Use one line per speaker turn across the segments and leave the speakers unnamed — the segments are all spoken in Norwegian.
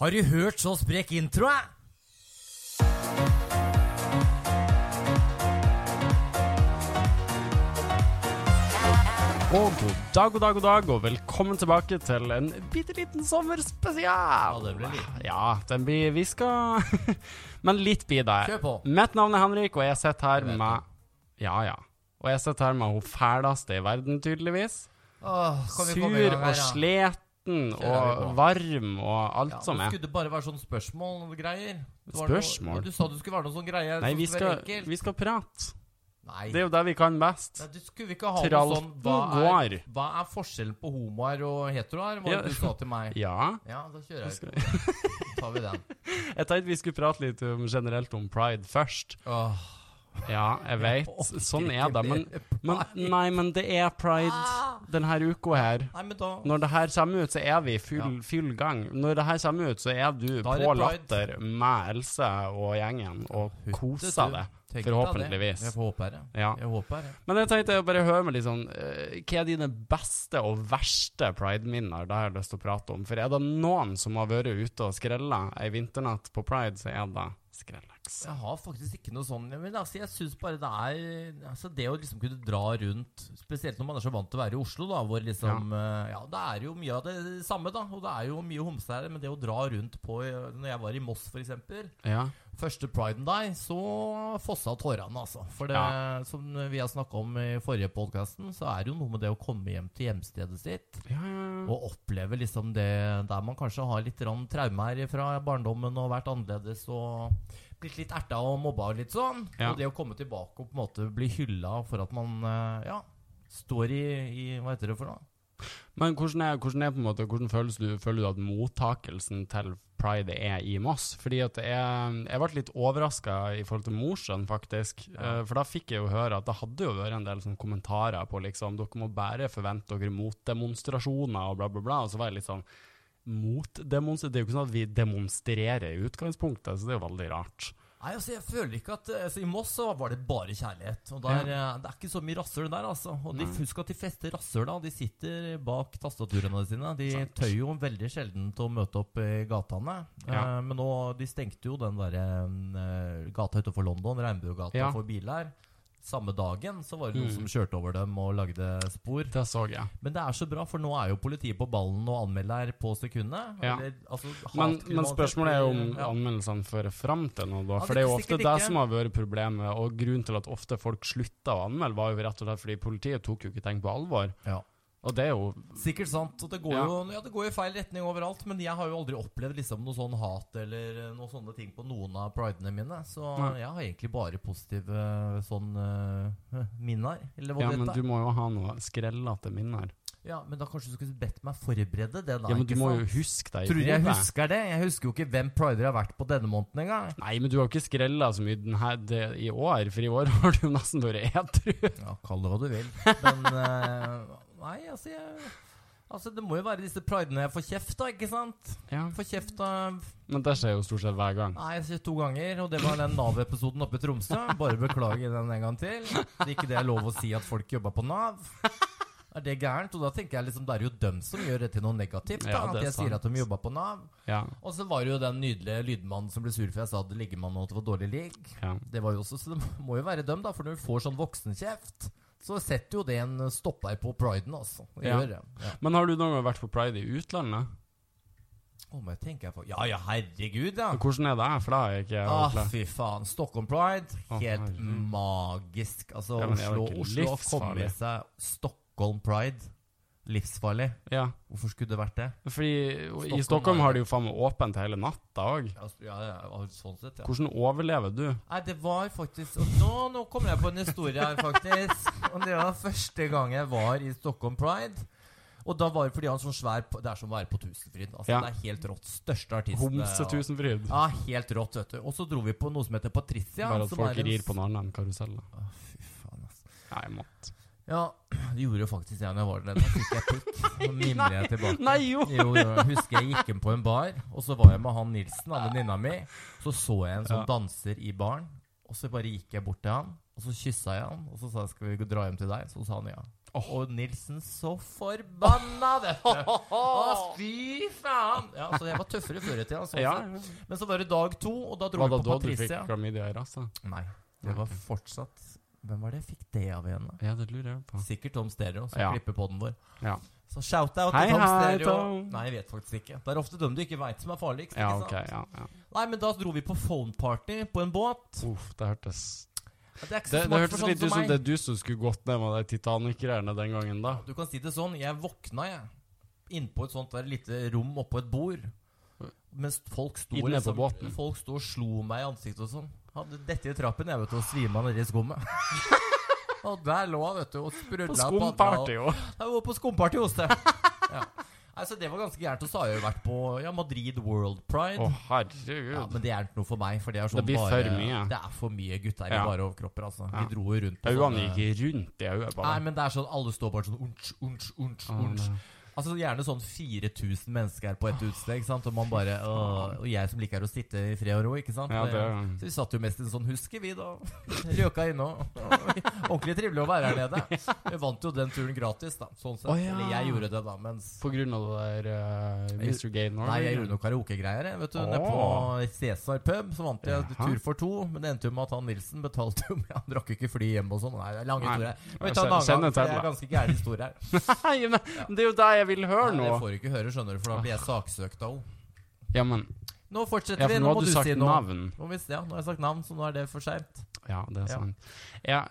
Har du hørt så sprek intro, eh?
Og god dag, god dag, god dag, og velkommen tilbake til en bitte liten sommerspesial.
Ja, det blir liten.
Ja, den blir Vi skal Men litt blir det.
Kjør på.
Mitt navn er Henrik, og jeg sitter her
vet
med Ja, ja. Og jeg sitter her med hun fæleste i verden, tydeligvis.
Åh, kan vi
Sur
komme i gang her,
og
da?
sleten
vi
og
på.
varm og alt
Ja, nå
som er.
Skulle det bare være sånn spørsmål og greier? Det var
Spørsmål?
Noe, du sa det skulle være noe sånn greie.
Nei,
som
vi
skulle være
skal,
enkelt.
vi skal prate.
Nei.
Det er jo det vi kan best.
Nei, du skulle vi ikke ha noe sånn
Tralten
hva er,
går.
hva er forskjellen på homoer og heteroer? Hva
Ja.
ja. du sa til meg?
Ja.
Ja, da kjører
vi
jeg.
skal-
Da tar vi den.
Jeg tenkte vi skulle prate litt om, generelt om pride først.
Åh,
Ja, jeg vet. Sånn er det. Men, men nei, men det er pride denne uka her.
Nei, men da
Når det her kommer ut, så er vi i full, full gang. Når det her kommer ut, så er du
Da er det
på
pride.
latter med Else og gjengen og koser deg.
Tenk deg
Forhåpentligvis.
Det. Jeg håper det.
Ja.
Jeg håper det.
Men jeg tenkte å bare høre med litt sånn eh, Hva er dine beste og verste pride-minner? Det har jeg lyst til å prate om. For er det noen som har vært ute og skrella ei vinternatt på pride, så er det Skrellex.
Jeg har faktisk ikke noe sånn Men altså, jeg synes bare det er Altså, det å liksom kunne dra rundt Spesielt når man er så vant til å være i Oslo, da, hvor liksom eh, Ja, det er jo mye av det samme, da. Og det er jo mye homse her, men det å dra rundt på eh, Når jeg var i Moss, for eksempel
Ja.
Første priden der, så fossa tårene, altså. For det,
Ja.
som vi har snakka om i forrige podkasten, så er det jo noe med det å komme hjem til hjemstedet sitt.
Ja, ja.
Og oppleve liksom det der man kanskje har litt rann traumer fra barndommen og vært annerledes og blitt litt erta og mobba og litt sånn.
Ja.
Og det å komme tilbake og på en måte bli hylla for at man eh, ja, står i, i Hva heter det for noe?
Men hvordan er, hvordan er på en måte, hvordan føles du, føler du at mottakelsen til Pride er i Moss? Fordi at jeg, jeg ble litt overraska i forhold til Mosjøen, faktisk.
Ja.
Eh, For da fikk jeg jo høre at det hadde jo vært en del sånne kommentarer på liksom Dere må bare forvente dere motdemonstrasjoner og bla, bla, bla. Og så var jeg litt sånn Motdemonstrasjoner Det er jo ikke sånn at vi demonstrerer i utgangspunktet, så det er jo veldig rart.
Nei, altså jeg føler ikke at eh, altså, I Moss så var det bare kjærlighet. Og der, eh, Det er ikke så mye rasshøl der, altså. Og de,
Nei.
husk at de fleste rasshøla de sitter bak tastaturene sine. De
Sant.
tøyer jo veldig sjelden til å møte opp i gatene.
Ja.
Eh, men nå, de stengte jo den derre eh, gata utenfor London, Regnbuegata,
Ja.
for biler. Samme dagen så var det noen
Mm.
som kjørte over dem og lagde spor.
Det så jeg.
Men det er så bra, for nå er jo politiet på ballen og anmelder på sekundet.
Ja.
Eller, altså,
Men,
hatkriminalitet
men spørsmålet er jo om
blir- ja.
anmeldelsene fører fram til noe, da.
Ja,
For
det
det er jo
er
ofte
sikkert
det
ikke.
som har vært problemet. Og grunnen til at ofte folk slutta å anmelde, var jo rett og slett fordi politiet tok jo ikke ting på alvor.
Ja.
Og det er jo
Sikkert sant. Og det går,
Ja.
jo, ja, det går jo i feil retning overalt. Men jeg har jo aldri opplevd liksom, noe sånn hat eller eh, noe sånne ting på noen av pridene mine. Så
Nei.
jeg har egentlig bare positive sånn eh, minner. Eller hva
Ja,
det
men du
heter.
må jo ha noe skrellete minner.
Ja, men da kanskje du skulle bedt meg forberede det, da.
Ja, men du
ikke
må jo
sant?
huske deg i
Tror du jeg
hodet.
husker det? Jeg husker jo ikke hvem prider jeg har vært på denne måneden engang.
Nei, men du har jo ikke skrella så mye den her, det, i år, for i år har du jo nesten vært edru.
Ja, kall det hva du vil. Men eh, Nei, altså jeg Altså, Det må jo være disse pridene jeg får kjeft da, ikke sant?
Ja.
Får kjeft av
Men det skjer jo stort sett hver gang.
Nei, jeg sier to ganger, og det var den Nav-episoden oppe i Tromsø. Bare beklager den en gang til. Det er ikke det er lov å si at folk jobber på Nav. Er det gærent? Og da tenker jeg liksom, det er jo dem som gjør det til noe negativt. Da,
Ja,
at
det er
jeg sier
sant.
at de jobber på Nav.
Ja.
Og så var det jo den nydelige lydmannen som ble sur for jeg sa at det ligger man nå til for dårlig ligg.
ja.
Det var jo også, så det må jo være dem, da. For når du får sånn voksenkjeft, så setter jo det en stopper på priden, altså. Det
Ja.
Gjør det. Ja.
Men har du noen gang vært på pride i utlandet?
Å, men jeg tenker på Ja ja, herregud, ja.
Hvordan er det? For det har jeg ikke
Ah,
opplevd.
fy faen. Stockholm Pride,
Å,
helt
herregud.
magisk. Altså,
Ja, men det er jo
Oslo,
ikke
Oslo har
livsfarlig.
kommet seg Stockholm Pride. Livsfarlig.
Ja.
Hvorfor skulle det vært det?
Fordi
Stockholm
i Stockholm
har
har de jo faen meg åpent hele natta òg.
Ja, ja, ja, sånn sett, ja.
Hvordan overlever du?
Nei, det var faktisk og nå, nå kommer jeg på en historie her, faktisk. Og det var første gang jeg var i Stockholm Pride. Og da var det fordi han sånn svær Det er som å være på Tusenfryd. Altså,
Ja.
Det er helt rått. Største artist. eh,
Homse Tusenfryd.
Ja, helt rått, vet du. Og så dro vi på noe som heter Patricia.
Bare at
som
folk
er en-
rir på noe annet enn karuseller.
Å, Fy faen, ass.
Nei, Matt.
Ja, det gjorde jo faktisk jeg når jeg var der. Da fikk jeg pikk. Så mimrer jeg tilbake.
Nei, jo!
Jo, jo, jeg husker jeg gikk inn på en bar, og så var jeg med han Nilsen, han venninna mi. Så så jeg en som
Ja.
danser i baren, og så bare gikk jeg bort til han. Og så kyssa jeg han, og så sa jeg skal vi gå- dra hjem til deg. Så sa han ja. Og Nilsen så forbanna, vet du! Å, Fy faen! Ja, så jeg var tøffere før i tida. sånn
Ja,
sett. Men så var det dag to, og da dro
Var
vi på
det da du fikk
Patricia.
klamydia i rassa?
Nei, det var fortsatt Hvem var det jeg fikk det av igjen? da?
Ja, det lurer jeg på.
Sikkert Tom Stereo, som
Ja.
klipper podden vår.
Ja,
Så shout-out
Hei,
til Tom
hei,
Stereo.
Tom.
Nei, jeg vet faktisk ikke. Det er ofte dem du ikke veit, som er farligst.
ja
ikke
ok.
sant?
Ja, ja.
Nei, men da dro vi på phone party på en båt.
Uff, det hørtes
Det er ikke så
Det, det
smart
hørtes
for sånne
litt ut
som
som
meg.
det er du som skulle gått ned med de Titanic-greiene den gangen, da.
Du kan si det sånn, jeg våkna jeg Innpå et sånt der lite rom oppå et bord Mens folk sto
Inne på
liksom-
båten.
Folk sto og slo meg i ansiktet og sånn Hadde dette i trappen, jeg vet du, og svima ned i skummet Og der lå han, vet du, og sprudlet
På
padla,
skumparty, jo.
og- Jeg var på skumparty hos deg ja. Altså, det var ganske gærent Og så har jeg jo vært på ja, Madrid World Pride
Å, herregud.
ja, men det er ikke noe for meg For det er sånn
Det blir
bare
for mye.
Det er for mye gutter i
Ja.
bare overkropper altså.
Ja.
Vi dro jo rundt på
Øynene
sånne-
gikk rundt i øyet på
Nei,
deg.
men det er sånn alle står bare sånn unch, unch, unch, unch. Altså Gjerne sånn 4000 mennesker på et utested. ikke sant? Og man bare «Åh», Og jeg som liker å sitte i fred og ro, ikke sant.
Ja, det-
Så vi satt jo mest i en sånn huske, vi, da. Røka inne og Ordentlig trivelig å være her nede. Vi vant jo den turen gratis, da. Sånn sett.
Å, ja.
Eller jeg gjorde det, da. Mens
På grunn av det der eh, Mr. Gay Norway?
Nei, jeg gjorde noe karaokegreier. jeg, Vet du, Nede
Åh.
på Cæsar pub så vant jeg
Jaha.
tur for to. Men det endte jo med at han Nilsen betalte jo med Han rakk jo ikke fly hjem og sånn. Nei, det er lange
Nei.
historier. Men vi tar en
Send
annen gang,
en
for det
til,
er
da.
ganske gæren historie her.
Nei, men det er jo det jeg vil høre
Nei,
nå!
det får du ikke høre, skjønner du, for da blir jeg saksøkt av henne.
Ja, men
Nå fortsetter
ja, for
vi. Nå
nå
må
har
du
du sagt
si noe.
navn.
Nå må vi se, ja, nå har jeg sagt navn, så nå er det for seint.
Ja, det er
Ja.
sant. Ja,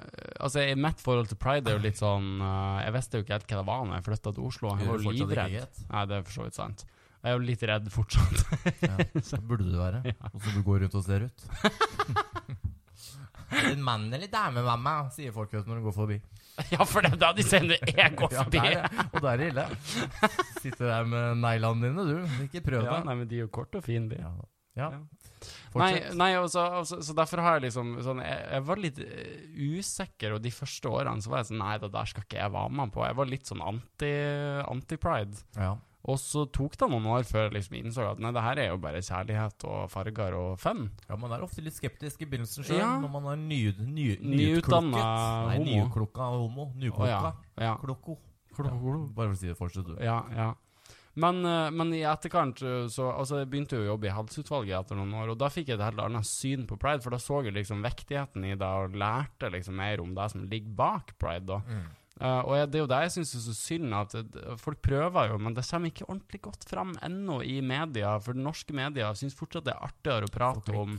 altså, i mitt forhold til pride er jo litt sånn eh, Jeg visste jo ikke helt hva det var da jeg flytta til Oslo. Jeg var jo livredd. Nei, det er for så vidt sant. Jeg er jo litt redd fortsatt.
Burde du være. Og som du går rundt og ser ut. Er det en mann eller dame, mamma? sier folk vet, når de går forbi.
ja, for det er da de sier når jeg går
Ja,
forbi!
der, ja. og der er det ille. Sitter der med neglene dine, du. Ikke prøv
Ja,
deg.
nei, men de er jo korte og fine, de.
Ja. ja.
Ja. Nei,
Fortsett.
nei og så- og så- så derfor har jeg liksom sånn, jeg, jeg var litt eh, usikker, og de første årene så var jeg sånn Nei, det der skal ikke jeg være med på. Jeg var litt sånn anti- anti-pride.
Ja.
og så tok det noen år før jeg liksom innså at nei, det her er jo bare kjærlighet og farger og fun.
ja, man er ofte litt skeptisk i begynnelsen sjøl,
Ja.
når man er ny, ny,
Nyutdannet
nyutklokket. Nei,
homo.
nyklokka homo.
Å,
Nyklokka.
ja. Ja.
Klokko. Bare for å si det fortsatt, du.
Ja, ja. Men, eh, men i etterkant eh, så altså, jeg begynte jo å jobbe i helseutvalget etter noen år, og da fikk jeg et helt annet syn på pride, for da så jeg liksom vektigheten i det og lærte liksom mer om det som ligger bak pride. da.
Mm.
Eh, og jeg, det er jo det jeg syns er så synd, at eh, folk prøver jo, men det kommer ikke ordentlig godt fram ennå i media, for norske medier syns fortsatt det er artigere å prate om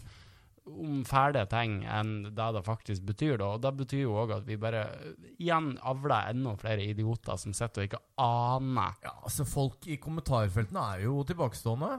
om fæle ting enn det det faktisk betyr. Da. Og det betyr jo òg at vi bare eh, igjen avler enda flere idioter som sitter og ikke aner
Ja, altså Folk i kommentarfeltene er jo tilbakestående.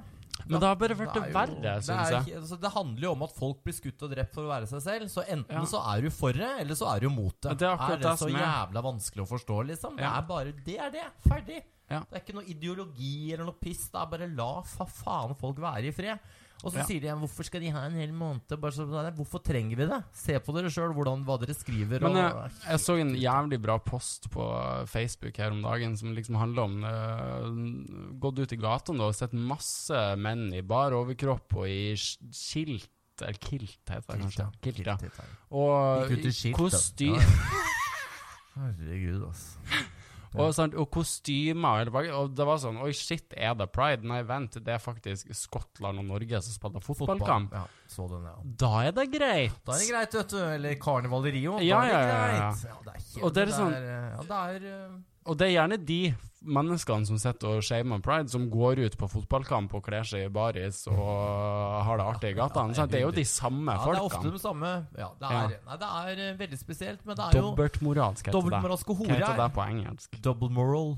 Men det har bare
Det
vært det
er jo-
verre,
det
syns
er
jeg.
ikke- altså, det handler jo om at folk blir skutt og drept for å være seg selv. Så enten
Ja.
så er du for det, eller så er du mot det.
Ja, det er akkurat
det
det
så
som er-
jævla vanskelig å forstå, liksom? Det
Ja.
er bare Det er det. Ferdig.
Ja.
Det er ikke noe ideologi eller noe piss. Det er bare la fa faen folk være i fred. Og så
Ja.
sier de ja, hvorfor skal de ha en hel måned? Bare så, nei, hvorfor trenger vi det? Se på dere sjøl hva dere skriver.
Men eh,
og,
jeg, jeg så en jævlig bra post på Facebook her om dagen som liksom handla om eh, Gått ut i gatene da, og sett masse menn i bar overkropp og i sk- skilt Eller kilt, heter det
Kilt,
kanskje.
ja.
Kilt, ja.
Titt her.
Og
Gikk ut i
i
skilt, da.
kosty
Ja. Herregud, altså. Ja.
og, sant, og kostymer. og hele pakka. Og det var sånn Oi, shit, er det pride? Nei, vent, det er faktisk Skottland og Norge som spiller fotballkamp.
Ja, så den, ja.
Da er det greit.
Da er det greit, vet du. Eller Karneval i Rio.
Ja,
da er det
ja, ja, ja.
greit. Ja, det er kjedelig.
Og det er sånn-
eh, ja, det er eh,
Og det er gjerne de menneskene som sitter og shamer pride, som går ut på fotballkamp og kler seg i baris og har det artig i gatene. sant? det er jo de samme
ja, det er ofte
folkene.
de samme Ja, det
Ja.
er, Nei, det er eh, veldig spesielt, men det er jo
Dobbeltmoralsk heter det.
dobbeltmoralske
Hva heter
horer.
det på engelsk?
Double moral.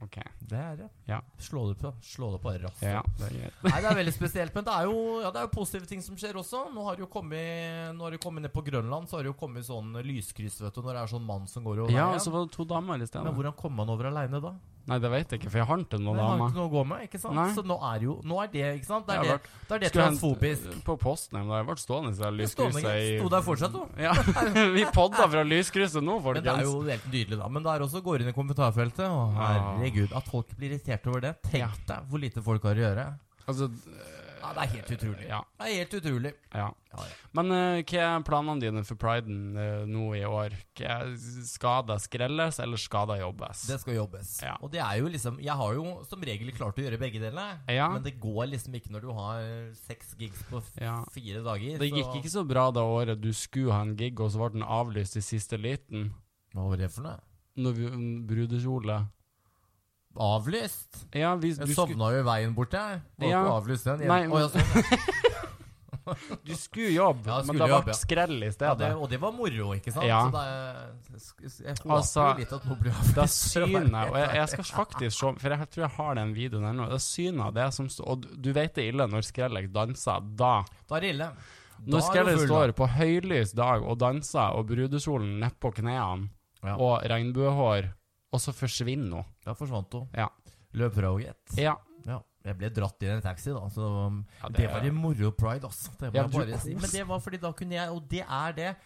Ok,
Det er det.
Ja.
Slå det på Slå det på raskt.
ja, det er greit.
Nei, det er veldig spesielt, men det er, jo, ja, det er jo positive ting som skjer også. Nå har det jo kommet Nå har det jo kommet ned på Grønland, så har det jo kommet sånn lyskryss, vet du, når det er sånn mann som går over
Ja,
veien.
og så var det to damer i
men
stedet.
hvordan kommer man over aleine da?
Nei, det vet jeg ikke, for jeg har ikke
Nei, han
noen
har
damer.
ikke noe å gå med, ikke sant?
Nei.
Så nå er jo Nå er det, ikke sant? Det
Jeg
er
har
det, det, er det
Skulle hente-
transfobisk.
På posten, men jeg ble stående i det
Stående,
lyskrysset i
sto der fortsatt, da.
Ja, vi podda fra lyskrysset nå,
Men det er
folkens.
jo helt nydelig, da. Men der også går inn i kommentarfeltet. Og herregud, at folk blir irritert over det. Tenk
Ja.
deg hvor lite folk har å gjøre.
Altså,
Ja, det er helt utrolig.
Ja,
Det er helt utrolig.
ja.
Ja, ja.
Men eh, hva er planene dine for priden eh, nå i år? Hva er- Skal det skrelles, eller skal det jobbes?
Det skal jobbes.
Ja.
Og det er jo liksom Jeg har jo som regel klart å gjøre begge delene.
Ja.
Men det går liksom ikke når du har seks gigs på f
Ja.
fire dager.
Det gikk ikke så bra det året du skulle ha en gig, og så ble den avlyst i siste liten.
Hva var det for noe?
Når vi, mm, brudekjole
Avlyst?
Ja, hvis du,
Jeg
skulle,
sovna jo i veien bort, jeg. Var
Ja.
ikke avlyst den. Jeg,
Nei,
Å, ja, sånn.
du skulle jobbe,
Ja,
men
skulle jobbe,
det
ja.
ble skrell i
ja, det,
stedet.
og det var moro, ikke sant?
Ja.
Så da, jeg, jeg håper
Altså,
jo litt at nå blir avlyst.
Det synet, og jeg, jeg skal faktisk se For jeg tror jeg har den videoen her nå. Det synet, det som står Og du, du vet det er ille når Skrellex danser, da.
Da er det ille. Da er
Når
du
Skrellex
full,
står på høylys dag og danser, og brudekjolen nedpå knærne,
Ja.
og regnbuehår, og så forsvinner hun.
Da forsvant hun.
Ja.
Løp fra henne, gitt.
Ja.
Ja. Jeg ble dratt inn i en taxi, da. Så um,
Ja, det-
det, var i moro pride, altså. Det må
Ja,
jeg
du
bare si.
kos.
Men det var fordi da kunne jeg Og det er det.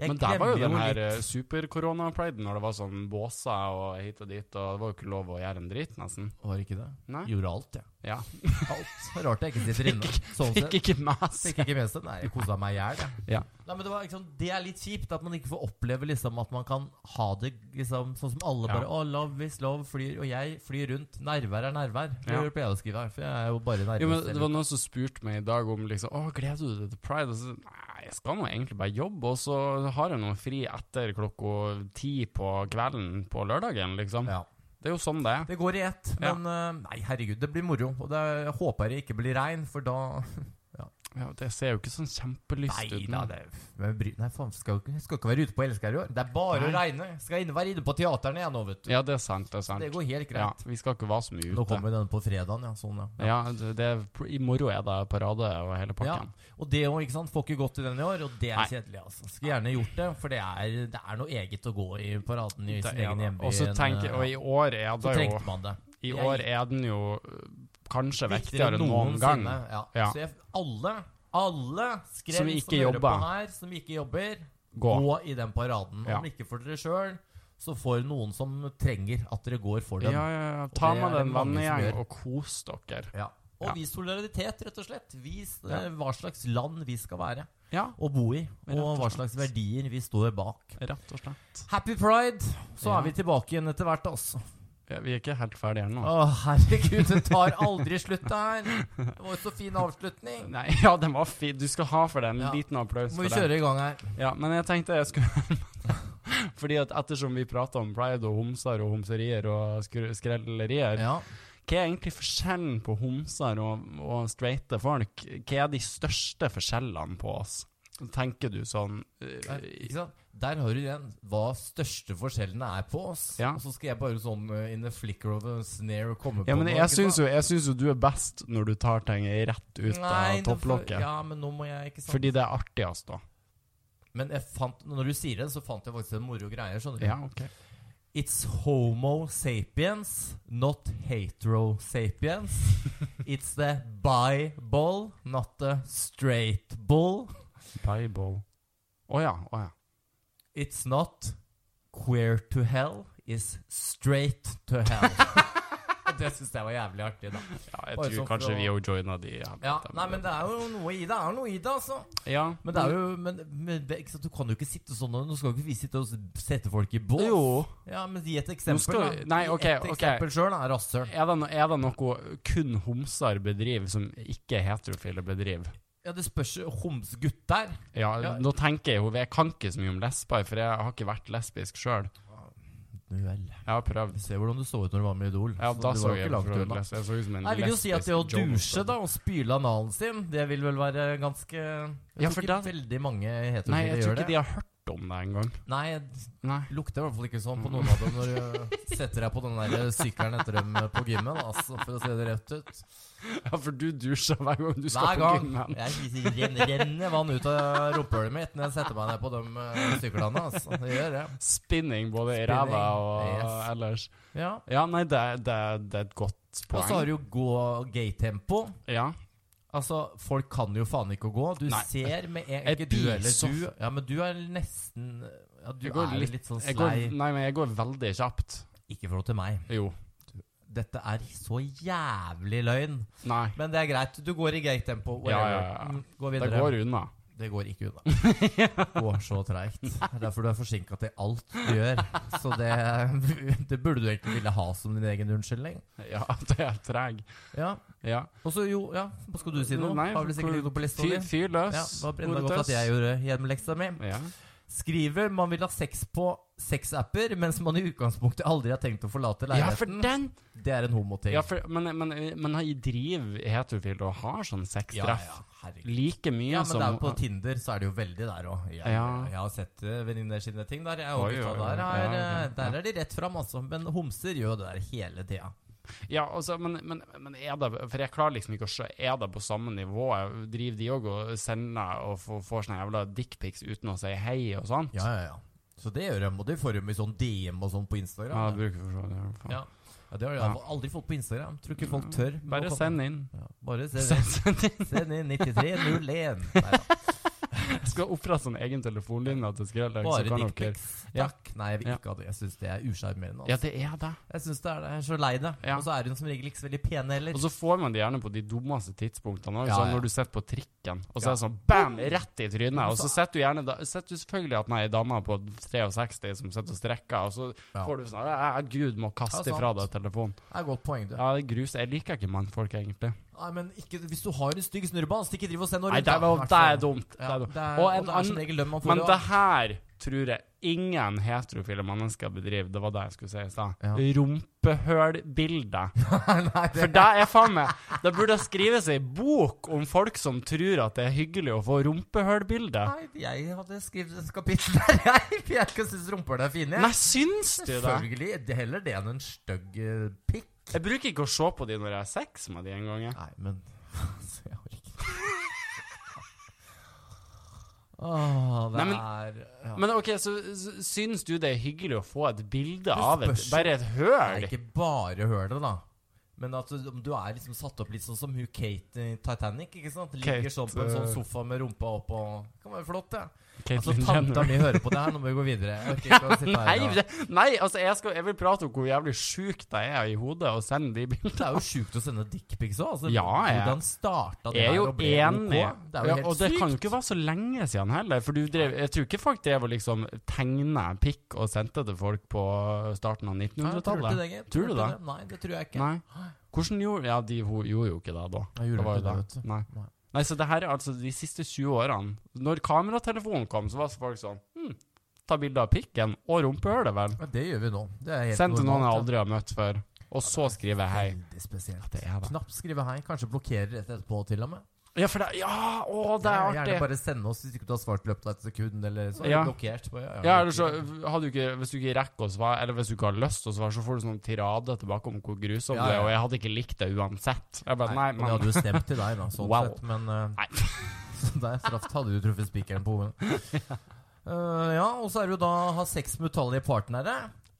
Jeg
Men der var jo
glemmer
den
litt-
her eh, super-korona-priden, når det var sånn båser og hit og dit, og det var jo ikke lov å gjøre en dritt, nesten.
Var ikke det?
Nei.
Gjorde alt, jeg.
Ja.
Alt. Rart jeg ikke sitter inne. Sånn sett.
Fikk ikke med seg.
Fikk ikke med seg. Nei, jeg kosa meg i hjel, jeg.
Ja.
Nei, men det, var, liksom, det er litt kjipt at man ikke får oppleve liksom, at man kan ha det liksom, sånn som alle
Ja.
bare Å, love is love flyr, og jeg flyr rundt. Nærvær er nærvær. Det
Ja.
pleier jeg å skrive her, for jeg er jo bare nærmest.
Jo, men Det var noen som spurte meg i dag om liksom, Å, gleder du deg til pride. Og så Nei, jeg skal nå egentlig bare jobbe, og så har jeg noe fri etter klokka ti på kvelden på lørdagen, liksom.
ja.
Det er jo sånn det er.
Det går i ett,
Ja.
men eh, nei, herregud, det blir moro. Og det jeg håper det ikke blir regn, for da
Ja, det ser jo ikke sånn kjempelyst
Nei
ut
da,
nå.
det men bry, Nei, faen, skal jo ikke, skal ikke være ute på Elsker i år. Det er bare å
Nei.
regne. Skal inne, være inne på teaterne igjen nå, vet du.
Ja, det er sant, det er sant.
det går helt
ja,
greit.
vi skal ikke være så mye
Nå
ute.
kommer den på fredagen, ja. Sånn, ja.
Ja, det, det, er- I morgen er det parade og
Ja,
hele pakken.
og det òg, ikke sant. Får ikke gått i den i år, og det er
Nei.
kjedelig, altså. Skulle gjerne gjort det, for det er, det er noe eget å gå i paraden i
Det
sin
er
egen
det.
hjemby.
Og så
enn,
tenk,
eh,
og i år er
så
det jo
trengte man det.
I
Jeg-
år er den jo øh, kanskje
Viktigere
viktigere enn noen gang.
noensinne, Ja.
Ja.
Så jeg, alle, alle skrev
Som
som
ikke
hører
jobber.
på her, som ikke jobber,
Gå.
gå i den paraden.
Ja.
Om ikke for dere sjøl, så for noen som trenger at dere går for
Ja,
den.
ja, ja. Ta
Og det
med
er
deg en
det mange som
vennegjeng
gjør.
og kos dere.
Ja. Og
Ja.
vis solidaritet, rett og slett. Vis eh,
Ja.
hva slags land vi skal være
Ja,
og bo i.
Rett
Og
og
hva
slett.
slags verdier vi står bak.
rett og slett.
Happy pride! Så
Ja.
er vi tilbake igjen etter hvert, altså.
Ja, vi er ikke helt ferdige
Å,
ennå.
herregud, det tar aldri slutt, det her. Det var jo så fin avslutning.
Nei, ja, den var fin. Du skal ha for det en
Ja.
liten applaus
Må vi
for den.
kjøre i gang her.
Ja, men jeg tenkte jeg skulle Fordi at ettersom vi prater om pride og homser og homserier og skru- skrellerier,
Ja.
hva er egentlig forskjellen på homser og, og straighte folk? Hva er de største forskjellene på oss? Tenker du sånn
Der,
øh,
ikke sant? Der har du igjen hva største forskjellene er på oss.
Ja.
Og så skal jeg bare sånn eh, in the flicker of a snare komme
Ja,
på
men
noe,
jeg
ikke
syns
sant?
jo, jeg syns jo du er best når du tar ting rett ut
Nei,
av
nå får-
topplokket.
Ja, sånn. men nå må jeg ikke sant?
Fordi det er altså. artigst, da.
Men jeg fant, når du sier det, så fant jeg faktisk en moro greie. Skjønner du?
Ja, ok.
It's homo sapiens, not hetero sapiens. It's the bi-ball, not the straight ball.
Bible. Å ja, å ja.
It's not queer to hell, is straight to hell. Og det syns jeg var jævlig artig, da.
ja jeg
Bare
tror
sånn for
kanskje
å-
vi òg joina de. Ja,
Ja, nei, men det er jo noe i det. er noe i det, altså.
ja.
Men det er jo men, men, det- ikke sant, Du kan jo ikke sitte sånn og- Nå skal jo ikke vi sitte og s- sette folk i bås.
Jo.
Ja, men gi et eksempel,
skal-
da.
nei,
Gi
ok,
et
ok.
eksempel sjøl, da. Rasshøl.
Er det, no, er det noe kun homser bedriver som ikke heterofile bedriver?
Ja, det spørs jo homsgutt der.
Ja,
Ja.
nå tenker jeg jo Jeg kan ikke så mye om lesber, for jeg har ikke vært lesbisk sjøl.
Nu vel.
Jeg har prøvd.
Vi ser hvordan du så ut når du var med i Idol.
Ja,
Så
da
du
så
var jo
jeg
ikke langt
for å
unna.
lese- Jeg så ut som en
Nei, jeg vil jo si at det å
lesbisk Jonas
dusje da og spyle analen sin, det vil vel være ganske Jeg
Ja,
tror
for
ikke
da-
veldig mange
Nei,
heterofile
jeg tror
gjør
ikke
det.
de har hørt om det engang.
Nei,
Nei.
Lukter i hvert fall ikke sånn på noen av dem når du setter deg på den der sykkelen etter dem på gymmen, altså, for å se det rett ut.
Ja, for du dusjer hver gang du skal
Hver
på
gang
gymmen.
jeg renner, renner vann ut av rumpehullet mitt når jeg setter meg ned på de eh, syklene. Altså. Det gjør det.
Spinning både i
Spinning,
ræva og
yes.
ellers.
Ja.
Ja, nei, det, det, det er et godt
Og så har
poeng.
du jo gå- gay-tempo.
Ja.
Altså, folk kan jo faen ikke å gå. Du
Nei.
ser med en
Jeg
Ikke du
blir
eller
så-
du. Ja, men du er nesten Ja, du
Jeg
er
går
litt,
litt-
litt sånn
Jeg går,
slei.
nei, men jeg går veldig kjapt.
Ikke i forhold til meg.
Jo.
dette er så jævlig løgn.
Nei.
Men det er greit. Du går i greit tempo.
Ja, ja,
whatever.
ja.
Mm, Gå
Det
videre.
går unna.
Det går ikke unna. Går så treigt. Det er Derfor du er forsinka til alt du gjør. Så det, det burde du egentlig ville ha som din egen unnskyldning.
Ja, det er treg.
Ja,
Ja.
og så jo, ja, skal du si noe?
Nei,
Har vel sikkert ikke noe på lista di?
Fyr, fyr løs.
Ja, det var brennende
Ordet
godt at
tøs.
jeg gjorde hjemmeleksa mi.
ja.
Skriver man vil ha sex på sexapper, mens man i utgangspunktet aldri har tenkt å forlate
ja, for
leiligheten.
den!
det er en homoting.
Ja, for, men, men, men i driv heterofile og har sånn
Ja, ja,
sextreff
herregud.
like mye
Ja, men
som
det er jo på Tinder så er det jo veldig der òg. Jeg,
Ja.
jeg har sett eh, venninner sine ting der. Jeg,
Oi,
og gutta
oi, oi.
der, er,
Ja,
eh,
ok.
der er de rett fram, altså. Men homser gjør jo det der hele tida.
Ja, altså, men, men, men er det For jeg klarer liksom ikke å se Er det på samme nivå? Driver de òg og sender og får, får sånne jævla dickpics uten å si hei og sånt?
Ja, ja, ja. Så det gjør de. Og det får de i sånn DM og sånn på
Ja,
Instagram.
jeg bruker for så vidt, i hvert fall.
Ja. Ja, det har jeg aldri fått på Instagram. Tror ikke folk tør. men nå
Bare
kan-
send inn.
Ja, bare send inn.
Send, send inn.
Send inn 9301. Nei, da.
Jeg skal opprette sånn egen telefonlinje til Skrellex. så
Bare
kan dere-
dickpics.
Ja.
Takk. Nei, jeg vil
Ja.
ikke ha det. Jeg syns det er usjarmerende.
Ja,
Altså.
det er det.
Jeg syns det er det. Jeg er så lei det.
Ja.
Og så er hun som regel ikke så veldig pen heller.
Og så får man det gjerne på de dummeste tidspunktene. Også,
Ja, ja.
Når du sitter på trikken, og så
Ja.
er det sånn bam, rett i trynet. Og
så-
så sitter du gjerne da, sitter du selvfølgelig at nei, ei dame på 63 som sitter og strekker, og så
Ja.
får du sånn «Æ, Gud, må kaste
Ja,
ifra
sant.
deg telefonen.
Det er et godt poeng, du.
Ja, det er grus. Jeg liker ikke mannfolk, egentlig.
Nei, men ikke, hvis du har en stygg snurreball, så ikke driv og send noe
Nei,
rundt.
det er,
da, i
vel-
hvert
det er
fall.
dumt. Det
Ja,
er
det
dumt.
er,
Og
og
en
det er
annen-
som regel lønn man får.
Men
og-
det her tror jeg ingen heterofile mennesker bedriver. Det var det jeg skulle si i stad.
Ja.
Rumpehølbildet.
Nei, det,
For det er faen meg Det burde skrives ei bok om folk som tror at det er hyggelig å få rumpehullbilde.
nei, jeg hadde skrevet et kapittel der, jeg. For jeg ikke syns rumpehull er fine.
Nei, syns du det?
Selvfølgelig. Det er heller det enn en stygg eh, pikk.
Jeg bruker ikke å se på de når jeg har sex med de engang. jeg.
Nei, men altså, jeg orker ikke. Åh, det
Nei, men-
er ja.
Men OK, så så syns du det er hyggelig å få et bilde
Det
av et
spørs jo.
Bare et
Det
høl?
er ikke bare hølet, da. Men at du, om du er liksom satt opp litt sånn som hun Kate i Titanic. ikke sant? Ligger
Kate,
sånn på en sånn
eh,
sofa med rumpa opp og Det kan være flott, det. Altså,
Caitlyn
Tanta
Jenner.
mi hører på det her, nå må vi gå videre. Jeg orker ikke å sitte
Nei,
her og-
det, nei, altså jeg, skal, jeg vil prate om hvor jævlig sjuk jeg er i hodet, og sende de bildene.
Det er jo sjukt å sende dickpics òg. Altså,
Ja, jeg-
hvordan starta det
Jeg er
her
jo
og ble OK?
enig.
Det er jo
ja,
helt
og det
sykt.
kan jo ikke være så lenge siden heller. For du drev, jeg tror ikke folk drev og liksom tegna pikk og sendte til folk på starten av
Nei, jeg tror ikke
1900-tallet.
det, gitt.
Tror du
ikke
det?
Nei, det tror jeg ikke.
Nei. Hvordan gjorde Ja, de hun gjorde jo ikke det da.
Jeg gjorde
det
ikke det, vet du.
Nei.
Nei.
Nei, så det her er altså de siste 20 årene. Når kameratelefonen kom, så var folk sånn hm, Ta bilde av pikken og rumpehullet, vel.
Men det gjør vi nå. Det er helt
Send til noen jeg
normalt,
aldri har møtt før. Og så skriver jeg hei.
ja. Veldig spesielt.
Det er det.
Knapt skrive hei. Kanskje blokkerer rett etterpå, til og med.
Ja, for det Ja, å, det er artig.
Gjerne bare sende oss hvis ikke du har svart i løpet av et sekund, eller så er
Ja.
du blokkert. Bare,
Ja, eller så har du ikke, Hvis du ikke rekker å svare, eller hvis du ikke har lyst til å svare, så får du sånn tirade tilbake om hvor grusom
Ja,
du er,
ja.
og jeg hadde ikke likt det uansett. Jeg
Nei,
bare, nei,
men Det
men,
hadde jo stemt til deg, da, sånn
Wow.
sett, men eh,
Nei.
så der straff hadde du truffet spikeren på hodet. Eh, ja, og så er det jo da å ha sex med utallige partnere.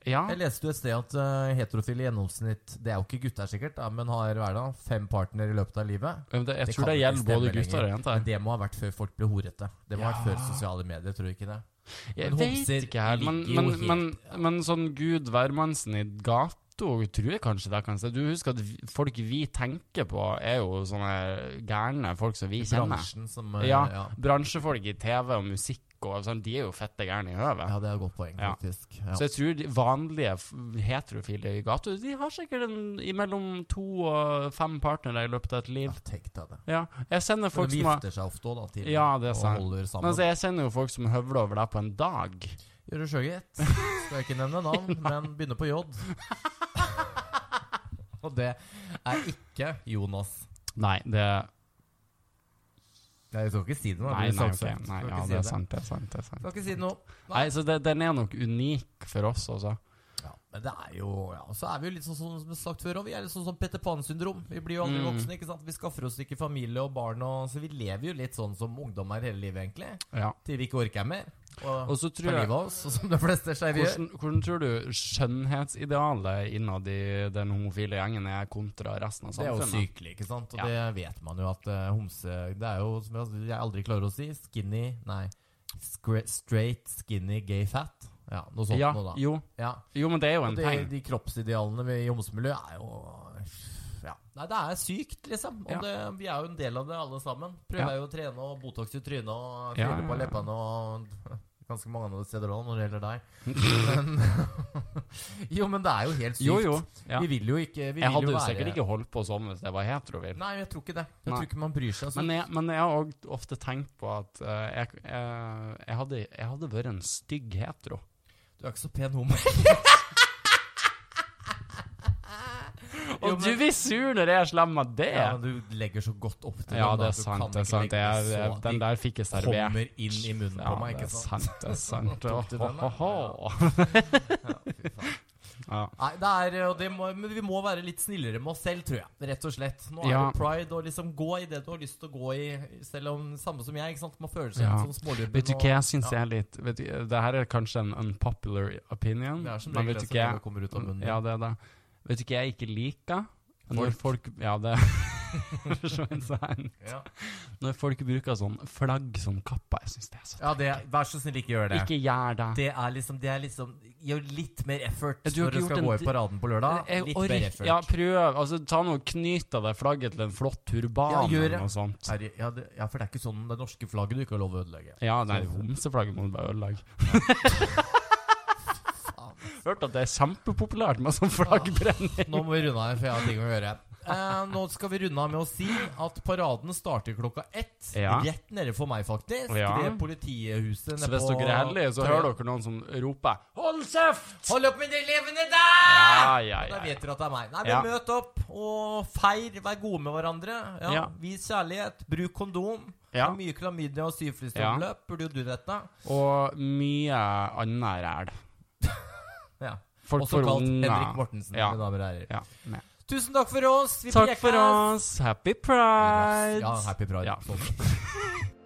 ja,
Jeg leste jo et sted at eh, heterofile i gjennomsnitt Det er jo ikke gutter, sikkert, da, men har hver da fem partnere i løpet av livet.
men det, jeg
det
tror
kan
det
ikke
gjelder både
stemme
gutter og
Men
jenter.
det må ha vært før folk ble horete. Det må ha vært
Ja.
før sosiale medier, tror du ikke det?
Jeg
men
vet
homser
ikke her, men,
ligger jo
men,
helt-
men, men sånn Gud hvermannsen i gata tror jeg kanskje det kan se. Du husker at vi, folk vi tenker på, er jo sånne gærne folk som vi kjenner.
Bransjen som eh,
Ja.
ja.
Bransjefolk i TV og musikk og sånn, de er jo fette gærne i høvet.
Ja, det er et godt poeng,
Ja.
faktisk. Ja.
Så jeg tror de vanlige f- heterofile i gata De har sikkert en, imellom to og fem partnere i løpet av et
Ja,
liv.
tenk deg det.
Ja, jeg kjenner
Men
folk
de
som har
gifter seg ofte òg, da. Til,
Ja, det er sant.
Og holder
men
sammen.
altså, jeg kjenner jo folk som høvler over deg på en dag.
Gjøre sjøgitt. Skal jeg ikke nevne navn, men begynner på J. Og det er ikke Jonas.
Nei, det
Nei, Jeg skal ikke si det nå.
Nei,
det blir
nei, ok.
saksøkt. Skal
nei ja,
ikke si
det er sant. Det er sant, det er sant.
Skal ikke si noe.
Nei, så det, den er nok unik for oss, altså.
Ja, men det er jo ja, og Så er vi jo litt sånn som som sagt før, og vi er litt sånn som Petter Pan-syndrom. Vi blir jo aldri
Mm.
voksne, ikke sant. Vi skaffer oss ikke familie og barn, og, så vi lever jo litt sånn som ungdommer hele livet, egentlig.
Ja.
Til vi ikke orker mer. Og,
Og så
tar
tror
livet
jeg
av oss, og som de fleste skeive gjør.
hvordan, hvordan tror du skjønnhetsidealet innad i den homofile gjengen er kontra resten av
Det er jo
samfunnet?
sykelig, ikke sant? Og det vet man jo at eh, homse Det er jo, som jeg, jeg aldri klarer å si, skinny Nei, scra- straight, skinny, gay, fat. Ja, noe sånt
ja,
noe, da.
jo,
Ja.
jo, men det er jo
Og
en
de,
peng.
de kroppsidealene vi- i homsemiljøet er jo ja. Nei, det er sykt, liksom. Og
Ja.
det, vi er jo en del av det, alle sammen. Prøver jo å trene og Botox i trynet og
Ja,
fille på
ja, ja.
leppene og ganske mange andre steder òg, når det gjelder deg. Men, jo, men det er jo helt sykt.
Jo, jo. Ja.
Vi vil jo ikke vi
Jeg
vil
hadde
jo
jo
være...
sikkert ikke holdt på sånn hvis jeg var heterofil.
Nei, jeg tror ikke det. Jeg
Nei.
tror ikke man bryr seg. Altså, Så.
Men jeg, men jeg har også ofte tenkt på at eh, jeg, eh, jeg, hadde, jeg hadde vært en stygg hetero.
Du er ikke så pen homo. Jo,
Og du
men-
blir sur når jeg er slem med det!
Ja, men du legger så godt opp til
Ja,
den, da,
det er
at du kan
sant. det er
ikke
sant.
legge
Jeg,
så-
jeg, den der fikk jeg servert.
Kommer inn i munnen
Ja,
på meg,
det
ikke
er
sant?
sant, det er sant.
Tok du den, da?
Åhåhå.
Ja, fy faen.
Ja.
Nei, det er, eh, og det må, men vi må være litt snillere med oss selv, tror jeg. Rett og slett. Nå er
Ja.
det pride, og liksom gå i det du har lyst til å gå i, selv om samme som jeg. ikke sant? Man føler seg
Ja.
litt sånn smålubben.
Vet du
og-
hva jeg syns
ja.
er litt vet du, Det her er kanskje en unpopular opinion.
Det er som
men
regel
vet
det
du
som
hva jeg-
jeg, kommer ut av munnen.
Ja, det er det. Vet du hva jeg ikke liker? Når folk Ja, det Skjønner jeg.
Ja.
Når folk bruker sånn flagg som kappa. Jeg syns det er så
Ja, det, vær så snill, ikke gjør det.
Ikke gjør det.
Det er liksom, det er liksom Gjør litt mer effort
Ja, du har
når du
ikke
skal
gjort
gå
en
i paraden på lørdag.
Jeg
Litt
ork-
mer effort.
Ja, prøv. Altså, ta noe, Knyt av det flagget til en flott turban
Ja, gjør
eller
det.
noe sånt.
Herre, ja, det, ja, for det er ikke sånn det norske flagget du ikke har lov å ødelegge.
Ja, nei, homseflagget må du bare ødelegge. Hørte at det er kjempepopulært med sånn flaggbrenning.
Nå må vi runde av, for jeg har ting å gjøre. Eh, nå skal vi runde av med å si at paraden starter klokka ett.
Ja.
Rett nede for meg, faktisk.
Ja.
Ved politihuset
Så hvis dere er heldige, så hører dere noen som roper 'hold kjeft'!
Hold opp med de levende der!
Ja, ja,
Da
ja.
vet dere at det er meg. Nei, men
Ja.
Møt opp og feir. Vær gode med hverandre. Ja,
Ja.
Vis kjærlighet. Bruk kondom. Det
Ja.
er Mye klamydia og syflistromløp. Burde jo du dette?
Og mye annet ræl.
Ja.
Folk
Også
får
kalt Henrik
unger.
Mortensen.
Ja.
mine damer og herrer.
Ja. nei.
Tusen takk for oss. Vi
Takk for
prekes.
oss. Happy pride.
Ja, happy pride.
Ja.
Sånn.